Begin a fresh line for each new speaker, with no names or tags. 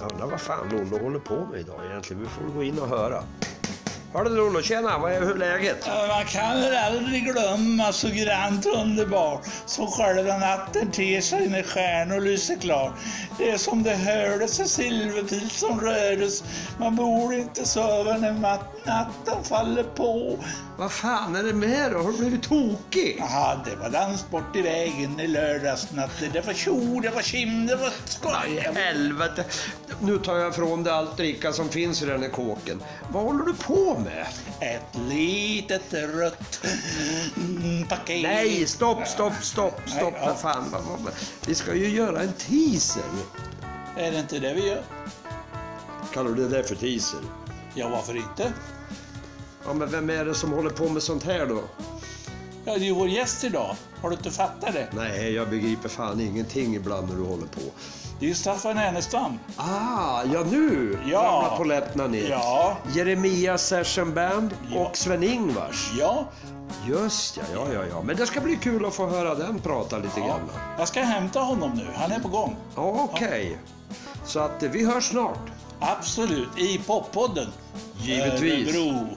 Jag undrar vad fan Lollo håller på med idag egentligen. Vi får gå in och höra. Hörru Lollo, tjena! Vad är, hur är läget?
Ja, Man kan väl aldrig glömma så grant underbart som själva natten ter sig när stjärnor lyser klart. Det är som det hördes en silverpil som rördes. Man borde inte söva när mat- natten faller på.
Vad fan är det med dig? Har du blivit tokig?
Jaha, det var danssport i vägen i lördagsnatten. Det var tjo, det var tjim, det var skoj.
Aj, helvete! Nu tar jag ifrån dig allt dricka som finns i den här kåken. Vad håller du på med?
Ett litet rött mm, paket.
Nej, stopp, stopp, stopp, stopp för fan. Vad- vad- vad- Vi ska ju göra en teaser.
Är det inte det vi gör?
Kallar du det där för teaser?
Ja, varför inte?
Ja, men vem är det som håller på med sånt här då?
Ja, det är vår gäst idag. Har du inte fattat det?
Nej, jag begriper fan ingenting ibland när du håller på.
Det är ju Staffan Ernestam.
Ah, ja nu
Ja.
ramlar polletterna ner.
Ja.
Jeremias Session Band
Ja.
och Sven-Ingvars.
Ja,
Just ja, ja, ja, ja. Men det ska bli kul att få höra den prata lite
ja.
grann.
Jag ska hämta honom nu. Han är på gång.
Ja, okej. Så att eh, vi hörs snart.
Absolut. I poppodden.
Givetvis.
Örebro.